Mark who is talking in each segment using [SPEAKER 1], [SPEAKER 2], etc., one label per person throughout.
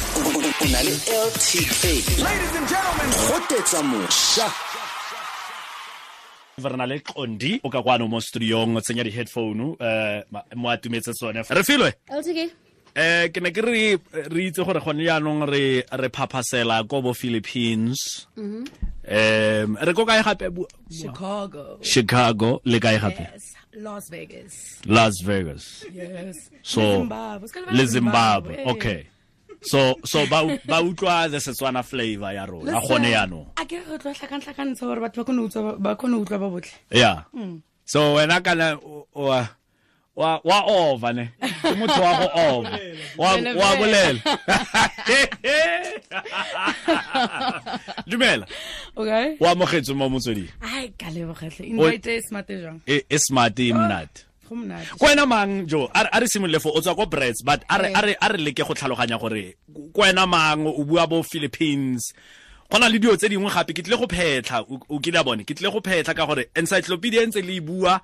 [SPEAKER 1] o na le lta
[SPEAKER 2] Ladies and gentlemen,
[SPEAKER 1] gotetsa mošwa
[SPEAKER 3] re na le qondi o ka kwano mo studiong o tsenya di-headphone eh, ma- mo atumetse tsone re filwe
[SPEAKER 4] LTK.
[SPEAKER 3] eh ke ne ke re re itse gore gone jaanong re re phaphasela ko bo philippines um re ko kae gape bua-
[SPEAKER 5] Chicago.
[SPEAKER 3] chicago le kae gape
[SPEAKER 5] Yes. Las Vegas.
[SPEAKER 3] las vegas
[SPEAKER 5] Yes.
[SPEAKER 3] so
[SPEAKER 5] Zimbabwe. It's gonna be
[SPEAKER 3] le
[SPEAKER 5] Zimbabwe,
[SPEAKER 3] zimbabwe
[SPEAKER 5] eh.
[SPEAKER 3] okay so so ba u- ba utlwa the setswana flavor ya rona gone jaanong
[SPEAKER 5] a ke re re tlo tlhakantlhakantsha gore batho ba kgone ho utlwa- ba kgone ho utlwa ba botlhe
[SPEAKER 3] yeah so wena kana o- wa wa wa over ne ke motho wa go over wa wa bolela dumela
[SPEAKER 5] okay
[SPEAKER 3] wa mogetse mo motsweding
[SPEAKER 5] ai ka lebogetlhe invite e smarte jang
[SPEAKER 3] e e smart e mnat
[SPEAKER 5] go monate
[SPEAKER 3] kwena mang jo a re- a re simolole fo o tswa ko brets but a re- a re a re leke go tlhaloganya gore kwena mang o bua bo philippines go na le dio tse dingwe gape ke tlile go phetlha o- o kile a bone ke tlile go phetlha ka gore encyclopedia e ntse le e bua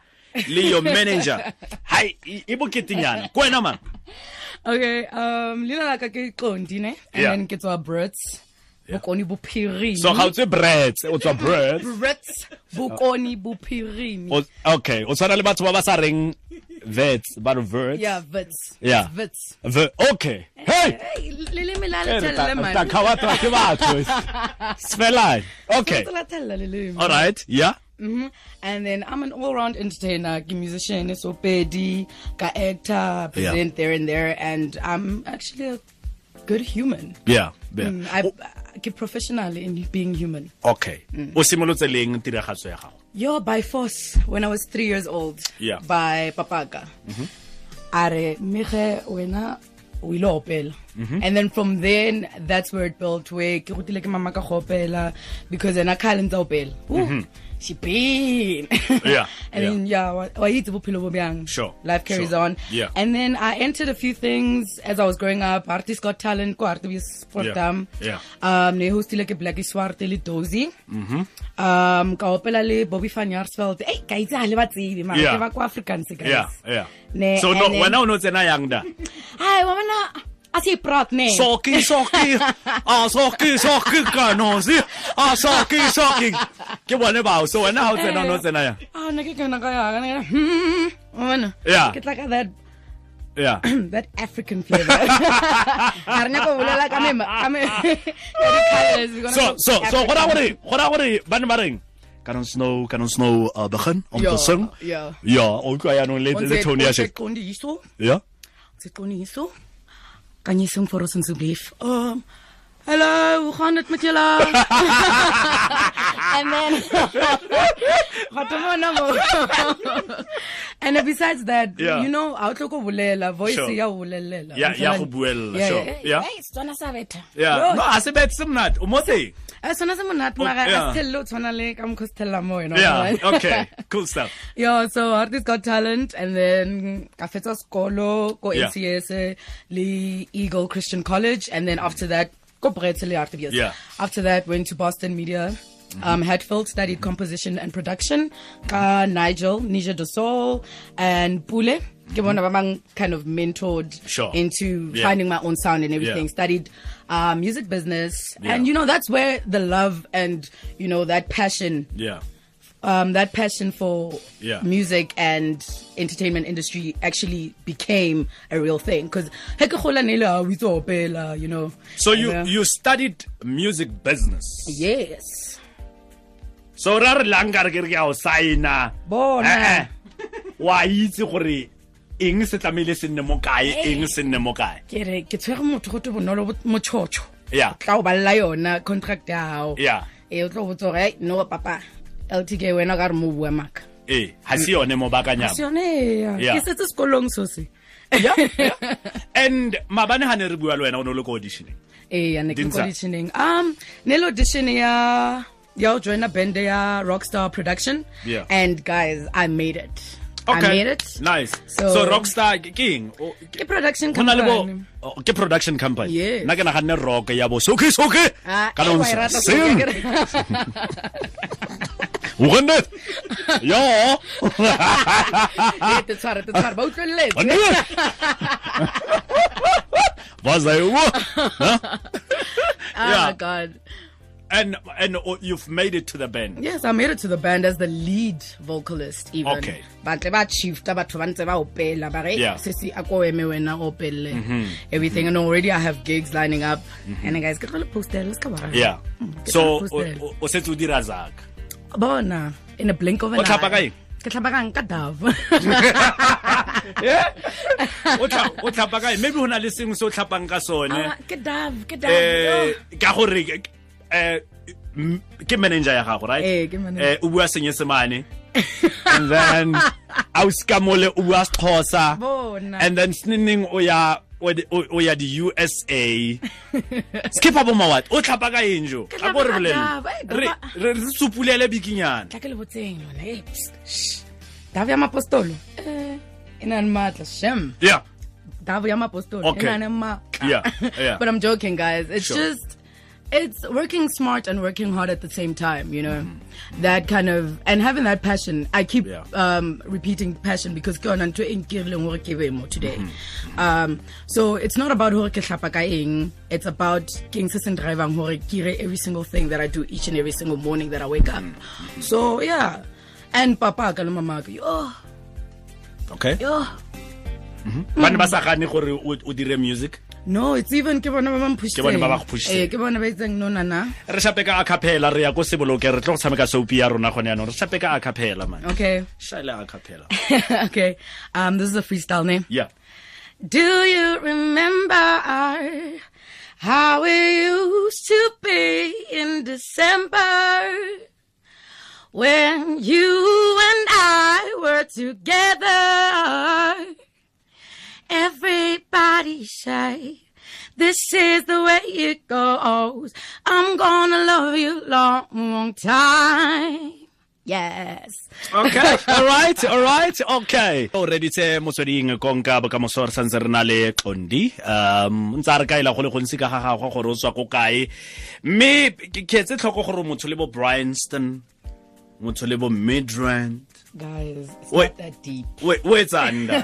[SPEAKER 3] le your manager hai e e boketenyana kwena mang
[SPEAKER 5] okay um leina laka ke qondi ne and
[SPEAKER 3] Yeah.
[SPEAKER 5] then ke tswa brits bokone bophirimi
[SPEAKER 3] so ga o tswe brets o tswa brets
[SPEAKER 5] brits bokone bophirimi
[SPEAKER 3] O- okay o tshwana le batho ba ba sa reng vets ba re verts
[SPEAKER 5] yeah vits
[SPEAKER 3] Yeah.
[SPEAKER 5] It's vits
[SPEAKER 3] The, okay hey
[SPEAKER 5] Hey, leleme la
[SPEAKER 3] Eh, re tla-
[SPEAKER 5] letelle
[SPEAKER 3] re tla kgabatswa ke batho sfelang okay
[SPEAKER 5] leleme
[SPEAKER 3] All right. Yeah.
[SPEAKER 5] Mhm. And then I'm an all-round entertainer, a musician, so pedi, ka actor, present there and there, and I'm actually a good human.
[SPEAKER 3] Yeah. yeah.
[SPEAKER 5] Mm, I get professional in being human.
[SPEAKER 3] Okay. O simolotse leng tiragatso ya gago?
[SPEAKER 5] Yo, by force, when I was three years old,
[SPEAKER 3] Yeah. Mm-hmm.
[SPEAKER 5] by Papaga. Are mige wena o ile opela.
[SPEAKER 3] Mm-hmm.
[SPEAKER 5] And then from then, that's where it built. Where ke rutile ke mama ka go opela because ena khale ntse a opela. Ooh, She been.
[SPEAKER 3] Mm-hmm. Yeah,
[SPEAKER 5] and
[SPEAKER 3] yeah.
[SPEAKER 5] then yeah, wa wa itse bophelo bo byang.
[SPEAKER 3] Sure,
[SPEAKER 5] Life carries
[SPEAKER 3] sure.
[SPEAKER 5] on.
[SPEAKER 3] Yeah.
[SPEAKER 5] And then I entered a few things as I was growing up. Artist got talent ko Artist
[SPEAKER 3] Yeah,
[SPEAKER 5] Sportam.
[SPEAKER 3] yeah.
[SPEAKER 5] Um ne hostile ke Blacky Swarte le Dozy.
[SPEAKER 3] Mhm.
[SPEAKER 5] um ka opela le bobby fanyarspeld ei ka itse ga le batsebe mara
[SPEAKER 3] Yeah.
[SPEAKER 5] ke ba kwa africans
[SPEAKER 3] Yeah. Yeah.
[SPEAKER 5] Ne,
[SPEAKER 3] so
[SPEAKER 5] and
[SPEAKER 3] no
[SPEAKER 5] then- Eh.
[SPEAKER 3] wena o no tsena yang da.
[SPEAKER 5] ai wa bona a se proud ne
[SPEAKER 3] Soki soki. Ah soki soki ka no si. Ah soki soki. Ke bone bao so wena ha o tsena o no tsena yang.
[SPEAKER 5] ah ne ke kana ka ya kana ka hmm wa bona
[SPEAKER 3] Yeah.
[SPEAKER 5] ke tla ka that
[SPEAKER 3] Yeah.
[SPEAKER 5] that hmm, african flavor ha rena go bolela ka mema ka me ka di colours, we're gonna
[SPEAKER 3] So
[SPEAKER 5] go
[SPEAKER 3] so so gona
[SPEAKER 5] African.
[SPEAKER 3] gore gona gore ba ne ba reng Canon Snow, Canon Snow uh, begin om
[SPEAKER 5] Ja,
[SPEAKER 3] te sing.
[SPEAKER 5] ja.
[SPEAKER 3] Ja, o utlwa ya le
[SPEAKER 5] Ons
[SPEAKER 3] le
[SPEAKER 5] het-
[SPEAKER 3] tone ya
[SPEAKER 5] ons
[SPEAKER 3] shit.
[SPEAKER 5] het kondiso.
[SPEAKER 3] Ja.
[SPEAKER 5] Seqoniso. Kan jy sing vir ons asseblief? Um Hallo, hoe gaan dit met julle? And then Wat om nou. And then besides that,
[SPEAKER 3] Yeah.
[SPEAKER 5] you know, outloko bulela, voice
[SPEAKER 3] Sure.
[SPEAKER 5] ya bulela.
[SPEAKER 3] Ya- ya go buella, sure. Yeah.
[SPEAKER 5] Hey, tsona sa beta.
[SPEAKER 3] Yeah. No, asibet simnat. Umothe.
[SPEAKER 5] Eh tsona se monate
[SPEAKER 3] Oh,
[SPEAKER 5] mara
[SPEAKER 3] yeah.
[SPEAKER 5] a tshello tsona le ka mkhostella mo wena.
[SPEAKER 3] Yeah.
[SPEAKER 5] man.
[SPEAKER 3] Okay. Cool stuff.
[SPEAKER 5] Yeah, so Artist Got Talent and then ka fetsa sekolo ko
[SPEAKER 3] Yeah.
[SPEAKER 5] NCS eh, le Eagle Christian College and then after that ko Bretse le Art of Years.
[SPEAKER 3] Yeah. Mm-hmm.
[SPEAKER 5] After that went to Boston Media. Um, Hatfield studied composition and production. Ka Nigel, Nija Dosol, and Pule. Ke bona ba bang kind of mentored
[SPEAKER 3] Mm-hmm. Sure.
[SPEAKER 5] into
[SPEAKER 3] Yeah.
[SPEAKER 5] finding my own sound and everything.
[SPEAKER 3] Yeah.
[SPEAKER 5] Studied uh, music business,
[SPEAKER 3] Yeah.
[SPEAKER 5] and you know that's where the love and you know that passion
[SPEAKER 3] Yeah.
[SPEAKER 5] um, that passion for
[SPEAKER 3] Yeah.
[SPEAKER 5] music and entertainment industry actually became a real thing because you know uh,
[SPEAKER 3] So you
[SPEAKER 5] Yeah.
[SPEAKER 3] you studied music business.
[SPEAKER 5] yes
[SPEAKER 3] So ra re lang ka re ke re ke a o sign-a.
[SPEAKER 5] Bona.
[SPEAKER 3] Eh, eh. Wa itse gore eng se tlamehile se nne mo kae, eng se nne mo kae.
[SPEAKER 5] ke re ke tshwere motho go te bonolo bot- mochocho
[SPEAKER 3] Yeah.
[SPEAKER 5] tla o balela yona contract ya hao.
[SPEAKER 3] Yeah.
[SPEAKER 5] e o tlo botsa gore "Hey, no papa ltk wena o ka re mo o bua maka
[SPEAKER 3] Eh, ha se yone mo bakanyang.
[SPEAKER 5] Sone, yeah.
[SPEAKER 3] Yeah.
[SPEAKER 5] ke setse sekolong so se
[SPEAKER 3] And mabane ha ne re bua le wena o ne o le ko auditioning.
[SPEAKER 5] ee ne ke ko
[SPEAKER 3] Dintsha.
[SPEAKER 5] auditioning um ne le audition ya ya ho joina band ya rockstar production
[SPEAKER 3] Yeah.
[SPEAKER 5] and guys i made it i
[SPEAKER 3] Okay.
[SPEAKER 5] made it
[SPEAKER 3] Nice. So,
[SPEAKER 5] So-
[SPEAKER 3] Rockstar ke ke eng? O-
[SPEAKER 5] ke production
[SPEAKER 3] Go na le bo
[SPEAKER 5] company
[SPEAKER 3] o- ke production company.
[SPEAKER 5] Yes.
[SPEAKER 3] Nna ke naganne rock ya bo soke soke.
[SPEAKER 5] Ah,
[SPEAKER 3] Ka
[SPEAKER 5] eh, wa e
[SPEAKER 3] nonsense.
[SPEAKER 5] rata
[SPEAKER 3] Sing.
[SPEAKER 5] soke, akere?
[SPEAKER 3] O gonne? Ja.
[SPEAKER 5] Eh, te tshware, te tshware, ba utlwelletse.
[SPEAKER 3] Was I?
[SPEAKER 2] Oh
[SPEAKER 3] Yeah.
[SPEAKER 2] my god.
[SPEAKER 3] and and oh, you've made it to the
[SPEAKER 2] Mm.
[SPEAKER 3] band.
[SPEAKER 5] Yes, I made it to the band as the lead vocalist even.
[SPEAKER 3] Okay.
[SPEAKER 5] Batle ba shifta batho ba ntse ba opela ba re
[SPEAKER 3] Yeah. Mm-hmm.
[SPEAKER 5] sisi a ko eme wena o opelle. Everything and already I have gigs lining up. And guys ke tlo le poster let's go.
[SPEAKER 3] Yeah.
[SPEAKER 5] ke
[SPEAKER 3] So
[SPEAKER 5] tla
[SPEAKER 3] o-
[SPEAKER 5] post-ela.
[SPEAKER 3] o- o setse o dira zaka.
[SPEAKER 5] Bona in a blink of an
[SPEAKER 3] O tlhapa kae?
[SPEAKER 5] eye. Ke tlhapa ka eng? ka dove.
[SPEAKER 3] O tla- o tlhapa kae? Maybe ho na le sengwe se o tlhapang ka sone.
[SPEAKER 2] Ah, ke dove, ke
[SPEAKER 3] Eh
[SPEAKER 2] dove.
[SPEAKER 3] ka gore ke- eh m- ke manager ya gago, right?
[SPEAKER 5] Eh, ke manager.
[SPEAKER 3] Eh o bua senyesemane. And then a o skamole o bua Xhosa.
[SPEAKER 5] Bona.
[SPEAKER 3] And then snining o ya o di- o o ya di USA. Skip up on my what? O tlhapa ka eng jo?
[SPEAKER 2] Ke
[SPEAKER 3] Ka gore
[SPEAKER 2] tlhapa ka
[SPEAKER 3] bolele.
[SPEAKER 2] dove, eh,
[SPEAKER 3] Re
[SPEAKER 2] goba-
[SPEAKER 3] re re supulele bikinyana.
[SPEAKER 5] Tla ke le botseng yona. eh, psst, shh. Dove ya mapostolo. Eh ina le matla shem.
[SPEAKER 3] Yeah.
[SPEAKER 5] Dove ya mapostolo.
[SPEAKER 3] Okay.
[SPEAKER 5] Ina le matla.
[SPEAKER 3] Yeah, yeah.
[SPEAKER 5] But I'm joking guys. It's
[SPEAKER 3] Sure.
[SPEAKER 5] just it's working smart and working hard at the same time, you know. That kind of and having that passion. I keep
[SPEAKER 3] Mm-hmm. Yeah.
[SPEAKER 5] um, repeating passion because ke yona ntho e nkirileng hore ke be mo today.
[SPEAKER 3] Mm-hmm.
[SPEAKER 5] Um, so it's not about hore ke hlapa ka eng. It's about king se se driving hore ke dire every single thing that I do each and every single morning that I wake up.
[SPEAKER 3] Mm-hmm.
[SPEAKER 5] So yeah. And papa ka le mama ka, yo,
[SPEAKER 3] Okay.
[SPEAKER 5] yo.
[SPEAKER 3] Ba ne ba sa gane gore o o dire music.
[SPEAKER 5] No, it's even ke bona ba bang push.
[SPEAKER 3] Ke bona ba ba go push-itseng.
[SPEAKER 5] Eh, ke bona ba itseng no nana.
[SPEAKER 3] re shape ka acapella re ya ko seboloke re tlo go tshameka soapy ya rona gone yaanong re shape ka acapella man
[SPEAKER 5] Okay.
[SPEAKER 3] shaele acapella
[SPEAKER 5] okay. Um, this is a freestyle name.
[SPEAKER 3] yeah
[SPEAKER 5] Do you remember how we used to be in December when you and I were together? Everybody say, this is the way it goes. I'm gonna love you long, long time. Yes.
[SPEAKER 3] okay all right all right okay o reditse Oh, motsweding konka bokamoso re santse re na le qondi um ntse a re kaela go le gontsi ka ga gagwe gore o tswa ko kae mme ke ketse tlhoko gore motho le bo bryanston motho le bo midrand
[SPEAKER 5] Guys, it's
[SPEAKER 3] Wait.
[SPEAKER 5] that deep.
[SPEAKER 3] o e, o etsang da?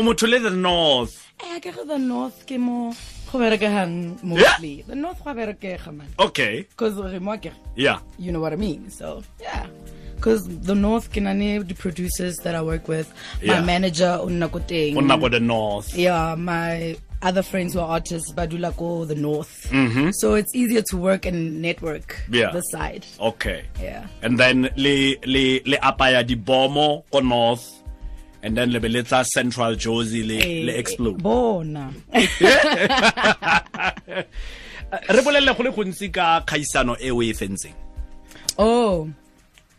[SPEAKER 3] o motho le the north
[SPEAKER 5] Eh, ke ge the north ke mo go berekehang mostly the north go a berekega man
[SPEAKER 3] okay
[SPEAKER 5] because re mo akere
[SPEAKER 3] yeah
[SPEAKER 5] you know what i mean so yeah because the north ke nane the producers that i work with my
[SPEAKER 3] Yeah.
[SPEAKER 5] manager o nna ko teng
[SPEAKER 3] o nna ko the north
[SPEAKER 5] yeah my other friends who are artists ba dula ko the north mm-hmm. so it's easier to work and network
[SPEAKER 3] Yeah.
[SPEAKER 5] the side
[SPEAKER 3] okay
[SPEAKER 5] yeah
[SPEAKER 3] and then le le le apaya dibomo ko north and then le be le tla central josie le le
[SPEAKER 5] Eh,
[SPEAKER 3] explode
[SPEAKER 5] bona
[SPEAKER 3] re bolelle go le gontsi ka khaisano e o e fentseng
[SPEAKER 5] oh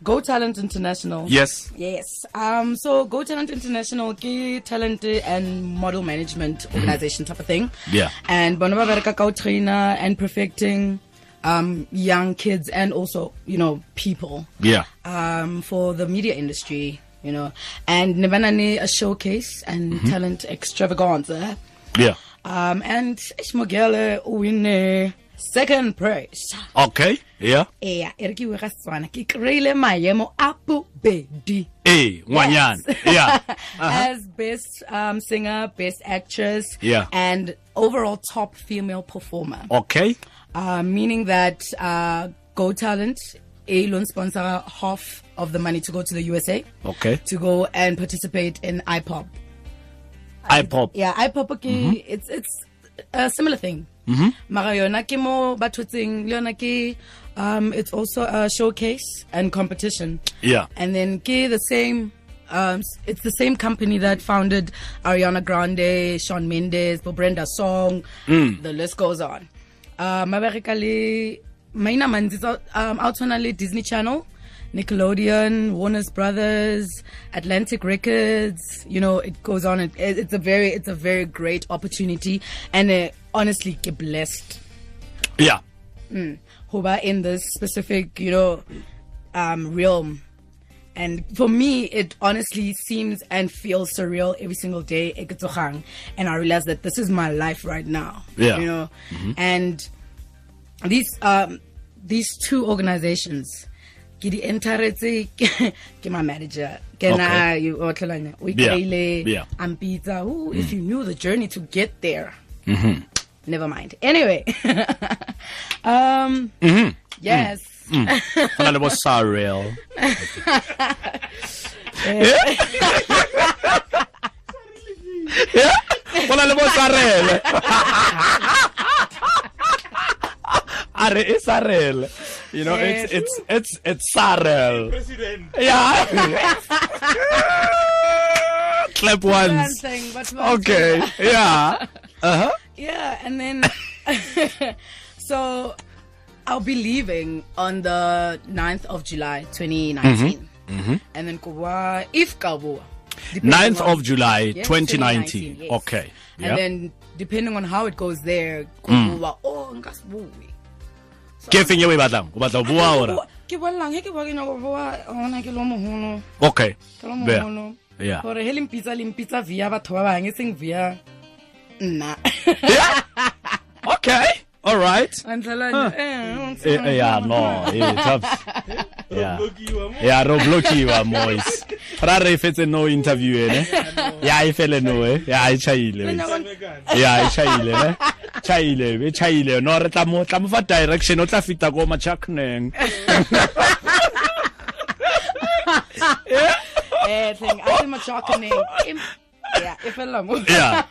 [SPEAKER 5] go talent international
[SPEAKER 3] yes
[SPEAKER 5] Yes. Um, so Go Talent International ke talent and model management organization type of thing.
[SPEAKER 3] Yeah.
[SPEAKER 5] And bona ba bereka ka ho trainer and perfecting um, young kids and also, you know, people
[SPEAKER 3] yeah
[SPEAKER 5] um, for the media industry, you know. And ne ba na le a showcase and talent extravaganza.
[SPEAKER 3] yeah
[SPEAKER 5] Um, and eish, Mogele o win second prize.
[SPEAKER 3] okay yeah
[SPEAKER 5] Eh, e re ke bue ka Setswana, ke kry-ile maemo a bobedi.
[SPEAKER 3] eh ngwanyana
[SPEAKER 5] Yes.
[SPEAKER 3] yeah Uh-huh.
[SPEAKER 5] As best um, singer, best actress,
[SPEAKER 3] Yeah.
[SPEAKER 5] and overall top female performer.
[SPEAKER 3] okay
[SPEAKER 5] Uh, meaning that uh, Go Talent, a loan sponsor, half of the money to go to the USA
[SPEAKER 3] okay
[SPEAKER 5] to go and participate in IPOP.
[SPEAKER 3] ipop
[SPEAKER 5] Yeah, IPOP, okay,
[SPEAKER 3] Mm-hmm.
[SPEAKER 5] it's it's a similar thing. Mara yona ke mo batho tseng, le yona ke, um, it's also a showcase and competition.
[SPEAKER 3] yeah
[SPEAKER 5] And then ke the same um, s- it's the same company that founded Ariana Grande, Sean Mendes, Bo Brenda Song. The list goes on. Uh Maberika le maina mantsi tsa- um out on le Disney Channel, Nickelodeon, Warner's Brothers, Atlantic Records, you know, it goes on. It, it- it's a very it's a very great opportunity and uh, honestly get blessed
[SPEAKER 3] yeah
[SPEAKER 5] who are in this specific, you know, um, realm. And for me, it honestly seems and feels surreal every single day. eketsogang. And I realize that this is my life right now.
[SPEAKER 3] Yeah. Mm-hmm.
[SPEAKER 5] You know, and these um, these two organizations, ke di enteretse ke ke my manager. Can
[SPEAKER 3] Okay.
[SPEAKER 5] I you otlolanya o
[SPEAKER 3] Yeah.
[SPEAKER 5] ikreile
[SPEAKER 3] Yeah.
[SPEAKER 5] ampitsa, "Ooh,
[SPEAKER 3] Mm-hmm.
[SPEAKER 5] if you knew the journey to get there." Never mind. Anyway, Um,
[SPEAKER 3] Mm-hmm.
[SPEAKER 5] yes.
[SPEAKER 3] go na le bo sarel go na le bo sarele a re e sarele you know it's it's it's it's sarel yeah clap once
[SPEAKER 5] Dancing, but
[SPEAKER 3] okay yeah
[SPEAKER 5] Yeah, and then so I'll be leaving on the 9th of July 2019.
[SPEAKER 3] Mm-hmm.
[SPEAKER 5] And then Kabua, if Kabua.
[SPEAKER 3] 9th of July
[SPEAKER 5] Yes,
[SPEAKER 3] 2019
[SPEAKER 5] yes.
[SPEAKER 3] okay yeah Mm.
[SPEAKER 5] And then depending on how it goes there, Kabua, oh, ngasibuyi.
[SPEAKER 3] ke feng e o e batlang o batla go boa ora
[SPEAKER 5] Ke bolelang he ke bua ke nyaka go boa gona ke lo mogolo,
[SPEAKER 3] okay
[SPEAKER 5] ke lo
[SPEAKER 3] Bear.
[SPEAKER 5] mogolo.
[SPEAKER 3] Yeah.
[SPEAKER 5] Gore he le mpitsa le mpitsa via batho ba bang e seng via nna.
[SPEAKER 3] Yeah. okay all right
[SPEAKER 5] Antlala.
[SPEAKER 3] Eh, eh, yeah, no, eh, tough. Yeah. Yeah, ro blockiwa mois. Ra re fetse no interview ene. Yeah, e fele no eh. Yeah, e chaile. Yeah, e chaile eh. Chaile, e chaile. No re tla mo tla mo fa direction o tla fita go machakneng.
[SPEAKER 5] Eh, thing. I think machakane. Yeah, e fella mo.
[SPEAKER 3] Yeah.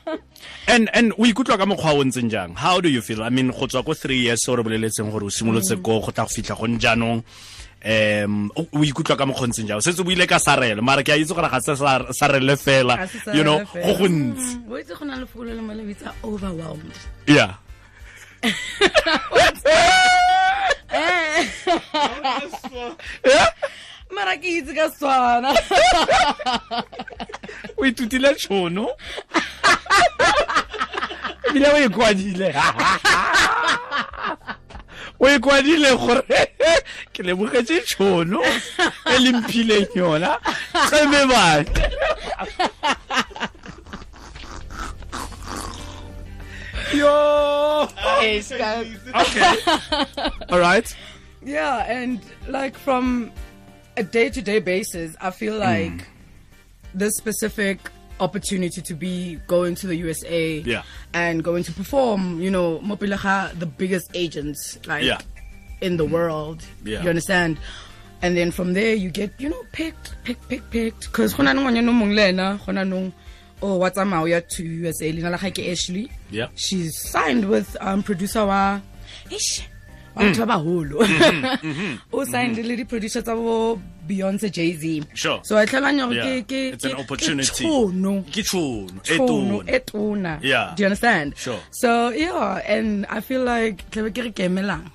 [SPEAKER 3] And and we ikutlwa ka mokgwa o ntseng jang. How do you feel? I mean, go tswa go 3 years o re boleletseng gore o simolotse go go tla go fitla go njanong. Um o o ikutlwa ka mokgwa o ntseng jang. Setse o ile ka sarele, mara ke a itse gore ga se sa- sarele
[SPEAKER 5] Ga
[SPEAKER 3] fela.
[SPEAKER 5] se sa
[SPEAKER 3] You know,
[SPEAKER 5] rena fela.
[SPEAKER 3] go go ntse.
[SPEAKER 5] Mm, Bo itse go na le fokolo le mo le bitsa overwhelmed.
[SPEAKER 3] Yeah.
[SPEAKER 5] Eh. Mara ke itse ka swana.
[SPEAKER 3] o ithutile tšhono ebile o e kwadile o e kwadile gore ke lebogetse tšhono e le mphileng yona tsebe bane yo
[SPEAKER 5] Eh, ska-
[SPEAKER 3] okay all right
[SPEAKER 5] Yeah, and like from a day to day basis, I feel
[SPEAKER 3] Mm.
[SPEAKER 5] like this specific opportunity to be going to the USA
[SPEAKER 3] Yeah.
[SPEAKER 5] and going to perform, you know, Mopilaha, the biggest agents like
[SPEAKER 3] Yeah.
[SPEAKER 5] in the world.
[SPEAKER 3] Yeah.
[SPEAKER 5] You understand? And then from there you get, you know, picked, picked, picked, picked. Because Hona no Munglena, Hona no oh what's Amaya to USA Lina Lahake Ashley.
[SPEAKER 3] Yeah.
[SPEAKER 5] She's signed with um producer wa Ish. batho
[SPEAKER 3] Mm.
[SPEAKER 5] ba
[SPEAKER 3] Mm-hmm.
[SPEAKER 5] baholo o signed le di-producer tsa bo beyonce jay z
[SPEAKER 3] Sure.
[SPEAKER 5] so I tlhalanya
[SPEAKER 3] Yeah.
[SPEAKER 5] gore ke-
[SPEAKER 3] It's an
[SPEAKER 5] ke- ke
[SPEAKER 3] opportunity.
[SPEAKER 5] tšhono
[SPEAKER 3] ke tšhono e
[SPEAKER 5] tšhono
[SPEAKER 3] tona.
[SPEAKER 5] e tona
[SPEAKER 3] Yeah.
[SPEAKER 5] do you understand
[SPEAKER 3] Sure.
[SPEAKER 5] so yeah and i feel like tlabe ke re ke emelang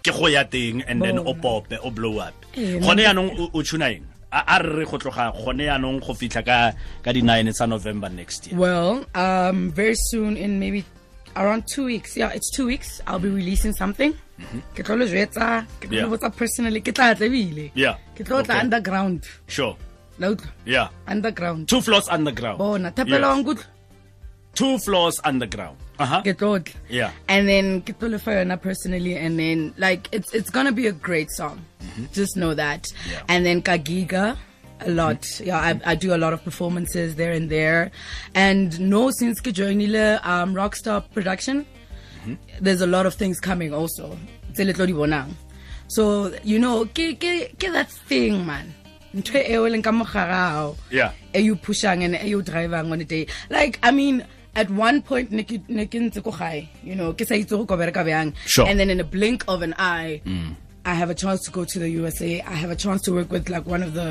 [SPEAKER 3] ke go ya teng and then o
[SPEAKER 5] Bona.
[SPEAKER 3] pope o blow up
[SPEAKER 5] Eh,
[SPEAKER 3] gone yaanong o- o tuna eng a a re re go tloga gone yaanong go fitlha ka ka di-nine tsa november next year
[SPEAKER 5] well um very soon in maybe around two weeks yeah it's two weeks i'll be releasing something ke tlo le jwetsa ke tlo
[SPEAKER 3] Mm-hmm. Yeah.
[SPEAKER 5] le botsa personally ke tla tlebile
[SPEAKER 3] Yeah.
[SPEAKER 5] ke tlo
[SPEAKER 3] Okay.
[SPEAKER 5] tla underground
[SPEAKER 3] sure
[SPEAKER 5] la utlwa
[SPEAKER 3] yeah
[SPEAKER 5] underground
[SPEAKER 3] two floors underground
[SPEAKER 5] bona
[SPEAKER 3] Yes.
[SPEAKER 5] thapela wa nkutlwa
[SPEAKER 3] two floors underground uh-huh
[SPEAKER 5] ke tlo tla
[SPEAKER 3] yeah
[SPEAKER 5] and then ke tlo lefa yona personally and then like it's it's gonna be a great song just know that
[SPEAKER 3] Mm-hmm. Yeah. Mm-hmm.
[SPEAKER 5] and then kagiga a lot yeah I, I do a lot of performances there and there and no since ke joinile um rockstar production
[SPEAKER 3] Mm-hmm.
[SPEAKER 5] there's a lot of things coming also tse le tlo di bonang so you know ke ke ke that thing man ntho e o leng ka mogagao
[SPEAKER 3] Yeah.
[SPEAKER 5] e you pushang and e you drivang on a day like i mean at one point ne ke ne ke ntse ko gae you know ke sa itse go kobere ka bjang
[SPEAKER 3] Sure. Mm.
[SPEAKER 5] and then in a blink of an eye i have a chance to go to the usa i have a chance to work with like one of the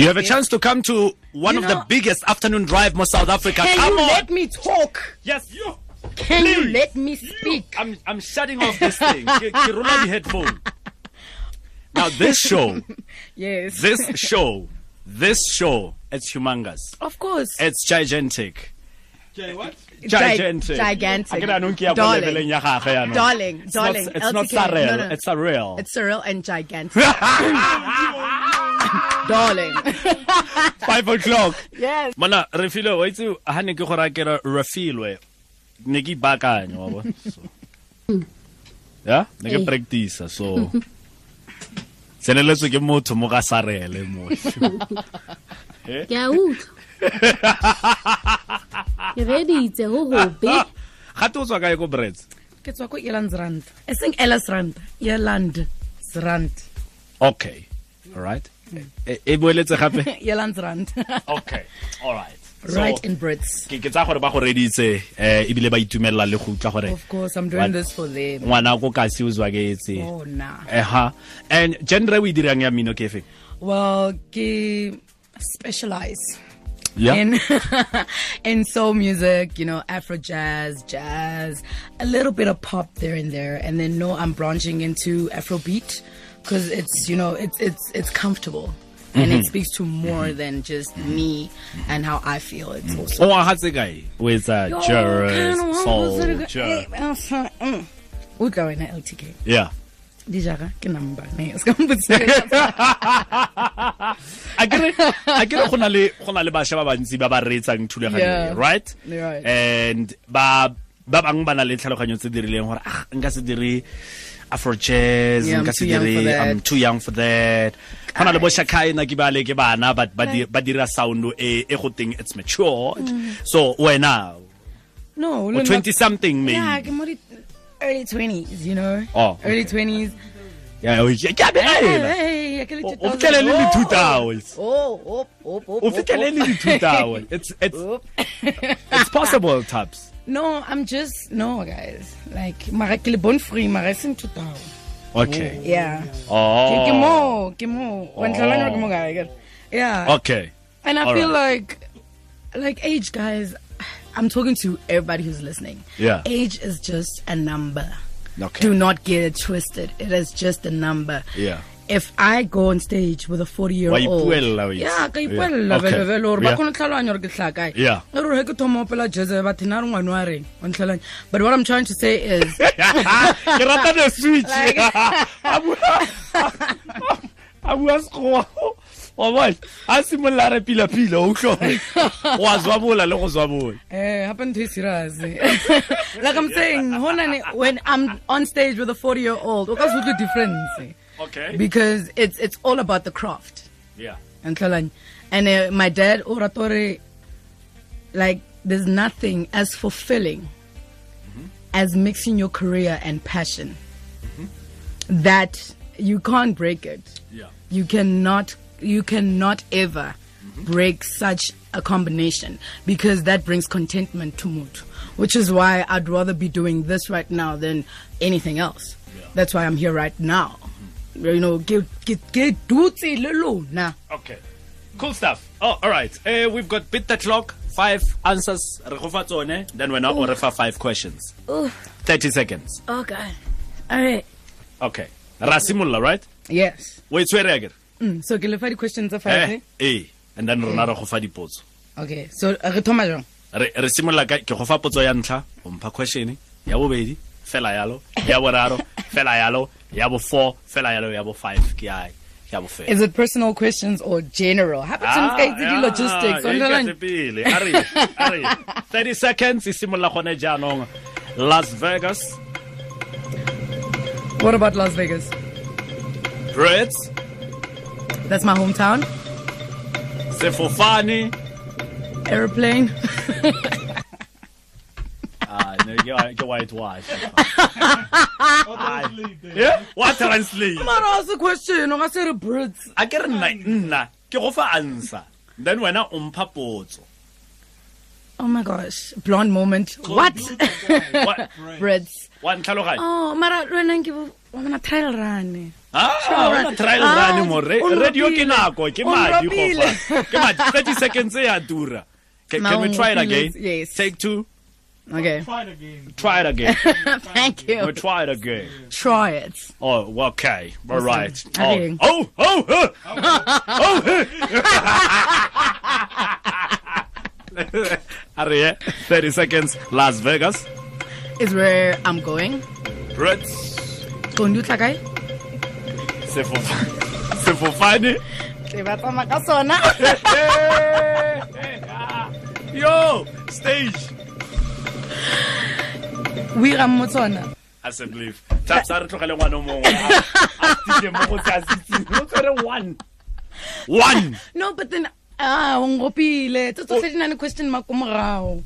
[SPEAKER 3] you have a chance to come to one
[SPEAKER 5] You
[SPEAKER 3] of the
[SPEAKER 5] know-
[SPEAKER 3] biggest afternoon drive more south africa
[SPEAKER 5] can
[SPEAKER 3] come
[SPEAKER 5] you
[SPEAKER 3] on
[SPEAKER 5] let me talk
[SPEAKER 3] yes you
[SPEAKER 5] can you
[SPEAKER 3] Please.
[SPEAKER 5] let me
[SPEAKER 3] You-
[SPEAKER 5] speak
[SPEAKER 3] I'm, I'm shutting off this thing Ke- ke rola di-headphone now this show
[SPEAKER 5] yes
[SPEAKER 3] this show this show it's humongous
[SPEAKER 5] of course
[SPEAKER 3] it's gigantic
[SPEAKER 5] Gi-
[SPEAKER 3] gigantic.
[SPEAKER 5] gigantic.
[SPEAKER 3] A ke jaanong ke ya kwa
[SPEAKER 5] Darling.
[SPEAKER 3] leveleng ya gagwe jaanong.
[SPEAKER 5] Darling,
[SPEAKER 3] It's not-
[SPEAKER 5] darling.
[SPEAKER 3] It's not
[SPEAKER 5] LTK. No,
[SPEAKER 3] surreal.
[SPEAKER 5] no.
[SPEAKER 3] It's surreal.
[SPEAKER 5] it's surreal and gigantic darling
[SPEAKER 3] five o'clock.
[SPEAKER 5] yes
[SPEAKER 3] Bona refilo wa itse ha ne ke go raya ke re refilwe. Ne ke ipaakanya wa bona. So. Ya, ne ke practice so. Tseneletswe ke motho mo ga sarele mo.
[SPEAKER 2] ke a utlwa ke reditse ho hobe
[SPEAKER 3] Gate o tswa kae ko breads?
[SPEAKER 5] ke tswa ko elandsrand e seng elasrand elandsrand
[SPEAKER 3] okay all right e e boeletse gape
[SPEAKER 5] elandsrand
[SPEAKER 3] okay all right
[SPEAKER 5] right
[SPEAKER 3] So,
[SPEAKER 5] and brits
[SPEAKER 3] ke ke tsa gore ba go reditse eh ebile ba itumella le go utlwa gore
[SPEAKER 5] of course i'm
[SPEAKER 3] What?
[SPEAKER 5] doing this for them
[SPEAKER 3] ngwana ko kasi o zwaketse
[SPEAKER 5] Oh, nah.
[SPEAKER 3] aha and genre o e dirang ya mmino ke efeng
[SPEAKER 5] well ke specialize
[SPEAKER 3] Yeah.
[SPEAKER 5] in in soul music, you know, Afro jazz, jazz, a little bit of pop there and there, and then no, I'm branching into Afrobeat because it's you know it's it's it's comfortable and
[SPEAKER 3] Mm-hmm.
[SPEAKER 5] it speaks to more than just me and how I feel. It's also
[SPEAKER 3] o wa hatse kae o etsa jazz soul jazz
[SPEAKER 5] mm. utla wena ltk
[SPEAKER 3] yeah
[SPEAKER 5] dijaka ke number ne o ska mputsa
[SPEAKER 3] akere akere go na le go na le bašwa ba bantsi ba ba reetsang thulaganyo e,
[SPEAKER 5] Yeah.
[SPEAKER 3] right
[SPEAKER 5] Right.
[SPEAKER 3] and ba ba bangwe ba na le tlhaloganyo tse di rileng gore ah nka se dire afro jazz
[SPEAKER 5] Yeah, I'm
[SPEAKER 3] nka se
[SPEAKER 5] too young for
[SPEAKER 3] dire
[SPEAKER 5] that."
[SPEAKER 3] i'm too young for that go na le bo shakaina ke bale ke bana ba ba di- ba dira sound e e go teng it's matured so wena
[SPEAKER 5] no
[SPEAKER 3] o
[SPEAKER 5] Mm. le nna-
[SPEAKER 3] 20 something
[SPEAKER 5] yeah
[SPEAKER 3] maybe
[SPEAKER 5] ke mo di early 20s you know
[SPEAKER 3] Oh,
[SPEAKER 5] early
[SPEAKER 3] okay.
[SPEAKER 5] 20s
[SPEAKER 3] Yeah, o- ke a belaela.
[SPEAKER 5] Hey, hey, hey,
[SPEAKER 3] O- o fitlhele le di-two towels
[SPEAKER 5] Oh, oh, oh, oh,
[SPEAKER 3] o fitlhele le di-two towels it's it's it's possible taps
[SPEAKER 5] No, I'm just no guys. Like mara ke le bon free mara e seng two towel.
[SPEAKER 3] okay
[SPEAKER 5] Yeah. Ke-
[SPEAKER 3] oh
[SPEAKER 5] Ke mo, ke mo. Wa ntlhaloganya hore ke mo kae, ke re? Yeah.
[SPEAKER 3] Okay.
[SPEAKER 5] And I
[SPEAKER 3] all
[SPEAKER 5] feel like like age guys I'm talking to everybody who's listening.
[SPEAKER 3] Yeah.
[SPEAKER 5] Age is just a number.
[SPEAKER 3] Okay.
[SPEAKER 5] Do not get it twisted. It is just a number.
[SPEAKER 3] Yeah.
[SPEAKER 5] If I go on stage with a 40 year
[SPEAKER 3] Wa
[SPEAKER 5] old.
[SPEAKER 3] ipuella, wa itse.
[SPEAKER 5] Yeah, ka
[SPEAKER 3] Yeah.
[SPEAKER 5] ipuella
[SPEAKER 3] Okay.
[SPEAKER 5] vele vele, hore ba
[SPEAKER 3] Yeah.
[SPEAKER 5] kgone ho tlhaloganya hore ke hlaha kae.
[SPEAKER 3] Yeah.
[SPEAKER 5] E re he ke thoma ho opela jazz, ba thena re ngwana wa reng, wa ntlhaloganya. But what I'm trying to say is
[SPEAKER 3] ke rata the switch
[SPEAKER 5] Like-
[SPEAKER 3] a bua- a bua sekgowa wa bone a simolola a re pila-pila o utlwe o a zwabola le go zwabola
[SPEAKER 5] Eh, happen to serious. like I'm saying, honane, when I'm on stage with a 40 year old, what's the difference?
[SPEAKER 3] Okay.
[SPEAKER 5] Because it's it's all about the craft.
[SPEAKER 3] yeah
[SPEAKER 5] And Kalani. And uh, my dad, Oratore, like there's nothing as fulfilling as mixing your career and passion. That you can't break it.
[SPEAKER 3] Yeah.
[SPEAKER 5] You cannot you cannot ever break such a combination because that brings contentment to mood. Which is why I'd rather be doing this right now than anything else. That's why I'm here right now. You know, get get get duty lulu now.
[SPEAKER 3] okay cool stuff oh all right uh, we've got bit the clock five answers re go fa tsone then wena o re fa five questions
[SPEAKER 2] Ooh.
[SPEAKER 3] 30 seconds
[SPEAKER 2] Oh, God. All right.
[SPEAKER 3] okay ra simolola right
[SPEAKER 5] Yes.
[SPEAKER 3] o e tshwere akere
[SPEAKER 5] Mm, so ke lefa di-questions tse five
[SPEAKER 3] Eh, eh and then rona re go fa dipotso
[SPEAKER 5] okay so uh, re thoma jang
[SPEAKER 3] re re simolola ka ke go fa potso ya ntlha o mpha question ya bobedi fela yalo ya boraro fela yalo ya bo four fela yalo ya bo five ke ya ya bo fela
[SPEAKER 5] is it personal questions or general hape
[SPEAKER 3] Ah,
[SPEAKER 5] sometimes the
[SPEAKER 3] yeah,
[SPEAKER 5] logistics
[SPEAKER 3] ya
[SPEAKER 5] on the line.
[SPEAKER 3] iketse pele. A re, a re. 30 seconds e simolola gone jaanong las vegas
[SPEAKER 5] what about las vegas
[SPEAKER 3] brits
[SPEAKER 5] that's my hometown
[SPEAKER 3] sefofane
[SPEAKER 5] airplane
[SPEAKER 3] Ah, no, ke wa- ke white wash Yeah? What translate
[SPEAKER 5] mara a se question o ka se re brits
[SPEAKER 3] a ke re nna nna ke go fa answer then wena o mpha potso
[SPEAKER 5] oh my gosh blonde moment what
[SPEAKER 3] Wa-
[SPEAKER 5] brits
[SPEAKER 3] wa ntlhaloganya
[SPEAKER 2] Oh, Mara, Renan, give a trial run.
[SPEAKER 3] Ah, wena trial
[SPEAKER 5] Ah,
[SPEAKER 3] run mo re-
[SPEAKER 5] o
[SPEAKER 3] radio ke
[SPEAKER 5] nropile.
[SPEAKER 3] nako ke
[SPEAKER 5] O
[SPEAKER 3] madi
[SPEAKER 5] nropile.
[SPEAKER 3] gofa ke madi 30 seconds e ya dura can, can we
[SPEAKER 5] Maungo,
[SPEAKER 3] try it again
[SPEAKER 5] please. Yes.
[SPEAKER 3] take two
[SPEAKER 5] okay
[SPEAKER 3] try it again
[SPEAKER 5] thank
[SPEAKER 3] we
[SPEAKER 5] you
[SPEAKER 3] try it again
[SPEAKER 5] try it
[SPEAKER 3] oh well, okay all right oh
[SPEAKER 5] Okay.
[SPEAKER 3] oh oh huh. oh huh. Are you? 30 seconds Las Vegas
[SPEAKER 5] is where i'm going
[SPEAKER 3] Brits
[SPEAKER 5] qondi o tla kae
[SPEAKER 3] Sefofane Sefofane
[SPEAKER 5] ke ba tsamaya ka sona
[SPEAKER 3] Yo stage
[SPEAKER 5] o irang mo tsona
[SPEAKER 3] I said believe. Taps a re tlogele ngwana o mongwe. A- a tike mo go tsa setsing. O tshwere one. One.
[SPEAKER 5] no but then ah o ngopile tse tsotlhe di na le question mark ko morago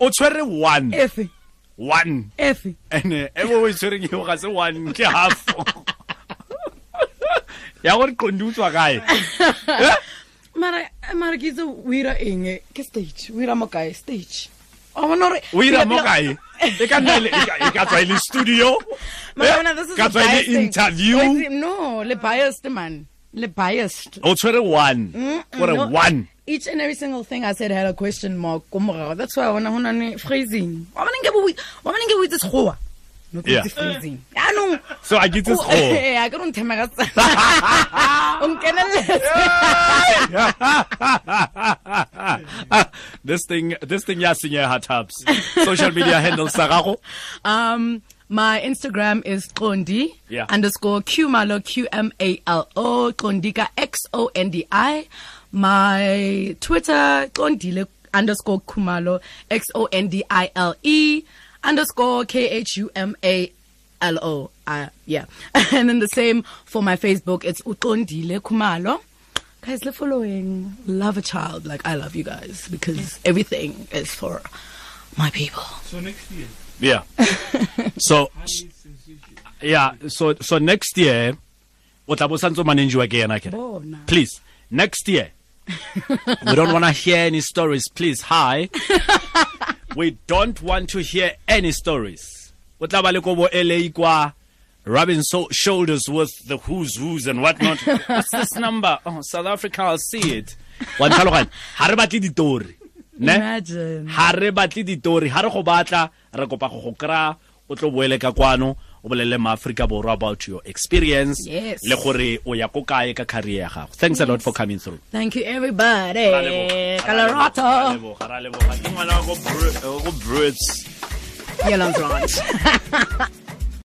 [SPEAKER 3] O tshwere one.
[SPEAKER 5] efe
[SPEAKER 3] one
[SPEAKER 2] efe
[SPEAKER 3] ene e bo o e tshwereng eo ga se one ke half ya gore kondi o tswa kae
[SPEAKER 2] mara mara ke itse o ira eng e?
[SPEAKER 5] ke stage o ira mo kae stage
[SPEAKER 2] wa bona gore
[SPEAKER 3] o ira mo kae e ka nna e le- e ka- e ka tswa e le studio
[SPEAKER 5] Mara wena,
[SPEAKER 3] eh,
[SPEAKER 5] this is
[SPEAKER 3] ka
[SPEAKER 5] a
[SPEAKER 3] tswa e le
[SPEAKER 5] biased thing.
[SPEAKER 3] interview
[SPEAKER 5] Wait, no le biased man le biased
[SPEAKER 3] o tshwere one gore
[SPEAKER 5] Mm, no.
[SPEAKER 3] one
[SPEAKER 5] each and every single thing i said had a question mark ko morago that's why ona go nane phrasing wa bona nke bo o- wa bona nke bo itse sekgowa no ke
[SPEAKER 3] Yeah.
[SPEAKER 5] itse phrasing yaanong
[SPEAKER 3] so a ke itse
[SPEAKER 5] o-
[SPEAKER 3] sekgowa
[SPEAKER 5] eh, a ke re o nthema ka tsala o nkeneletse
[SPEAKER 3] this thing this thing ya senyega taps social media handles tsa gago
[SPEAKER 5] Um, my Instagram is Kondi
[SPEAKER 3] Yeah.
[SPEAKER 5] underscore Qmalo Q M A L O Kondika X O N D I. My Twitter Kondile underscore Kumalo X O N D I L E underscore K H U M A L O. Uh, yeah, and then the same for my Facebook. It's Ukondile Kumalo. Guys, the following love a child like I love you guys because everything is for my people.
[SPEAKER 4] So next year,
[SPEAKER 3] yeah so
[SPEAKER 4] it's sensational.
[SPEAKER 3] yeah so so next year o tla bo santse o managiwa ke yena ke
[SPEAKER 2] Bona.
[SPEAKER 3] please next year we don't want to hear any stories please hi we don't want to hear any stories o tla ba le ko bo LA kwa rubbing so- shoulders with the who's who's and whatnot what's this number oh south africa i'll see it wa ntlhaloganya ha re batle ditori ne
[SPEAKER 5] Imagine.
[SPEAKER 3] ha re batle ditori ha re go batla re kopa go go kry-a o tlo boele ka kwano o bolelele maaforika borwa about your experience
[SPEAKER 5] Yes.
[SPEAKER 3] le gore o ya ko kae ka career ya gago thanks a lot for coming through
[SPEAKER 5] Thank you, everybody.
[SPEAKER 3] Ra
[SPEAKER 5] Eh,
[SPEAKER 3] leboga, ra leboga, ra
[SPEAKER 5] Colorado.
[SPEAKER 3] leboga, eh, ra leboga. Ke ngwana wa ko Bru- wa ko Brits.
[SPEAKER 5] Yellow Ranch.